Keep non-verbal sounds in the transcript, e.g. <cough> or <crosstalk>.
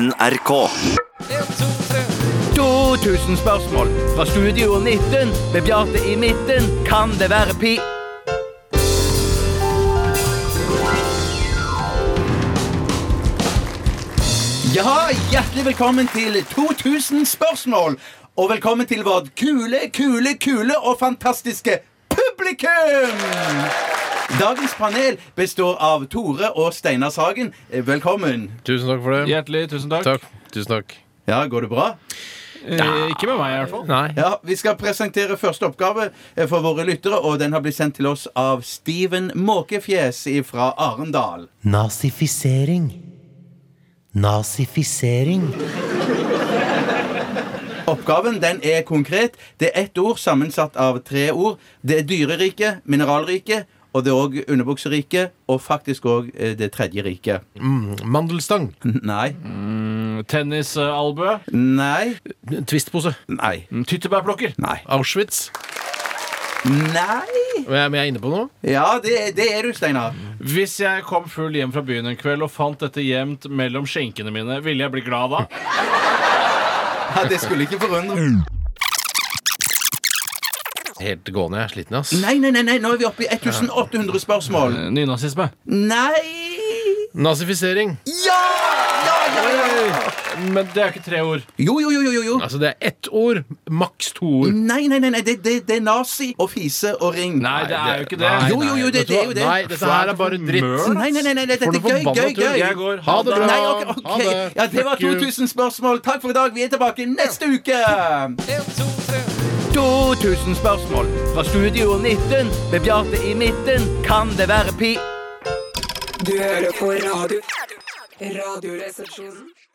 NRK. 2000 spørsmål fra Studio 19 med Bjarte i midten. Kan det være pi... Ja, hjertelig velkommen til 2000 spørsmål. Og velkommen til vårt kule, kule, kule og fantastiske publikum! Dagens panel består av Tore og Steinar Sagen. Eh, Velkommen. Tusen takk for det. Hjertelig tusen takk. Takk. Tusen takk. Ja, går det bra? Eh, ikke med meg, i hvert fall. Nei. Ja, Vi skal presentere første oppgave eh, for våre lyttere, og den har blitt sendt til oss av Steven Måkefjes fra Arendal. Nazifisering. Nazifisering. Oppgaven den er konkret. Det er ett ord sammensatt av tre ord. Det er dyreriket, mineralriket, og det er òg underbukseriket, og faktisk òg det tredje riket. Mandelstang. <laughs> Nei. Mm, Tennisalbue. Nei. Twistpose. Nei. Tyttebærplukker. Nei. Auschwitz. Nei. Men jeg, men jeg er inne på noe. Ja, det, det er du, Steinar. Hvis jeg kom full hjem fra byen en kveld og fant dette gjemt mellom skjenkene mine, ville jeg bli glad da? Mm. Ja, det skulle ikke forundre. Helt gående. Jeg er sliten, ass. Nei, nei, nei, nei, nå er vi oppe i 1800 spørsmål. Eh, Nynazisme. Nei Nazifisering. Ja! Ja, ja, ja! Men det er jo ikke tre ord. Jo, jo, jo, jo, jo. jo. Altså, det er ett ord. Maks to ord. Nei, nei, nei, nei. Det, det, det er nazi og fise og ring. Nei, det er jo ikke det. Nei, Jo, jo, jo, nei. det- Vet du hva? det er jo det. Nei, dette her er bare dritt. Mør? Nei, nei, nei, nei, dette For er du gøy, forbanna gøy, tull. gøy. Jeg går. Ha det bra. Nei, ok, ok. Ha det. Ja, det var Fuck you. 2000 spørsmål. Takk for i dag. Vi er tilbake neste uke. 2000 spørsmål fra Studio 19 med Bjarte i midten. Kan det være pi... Du hører på radio. Radioresepsjonen.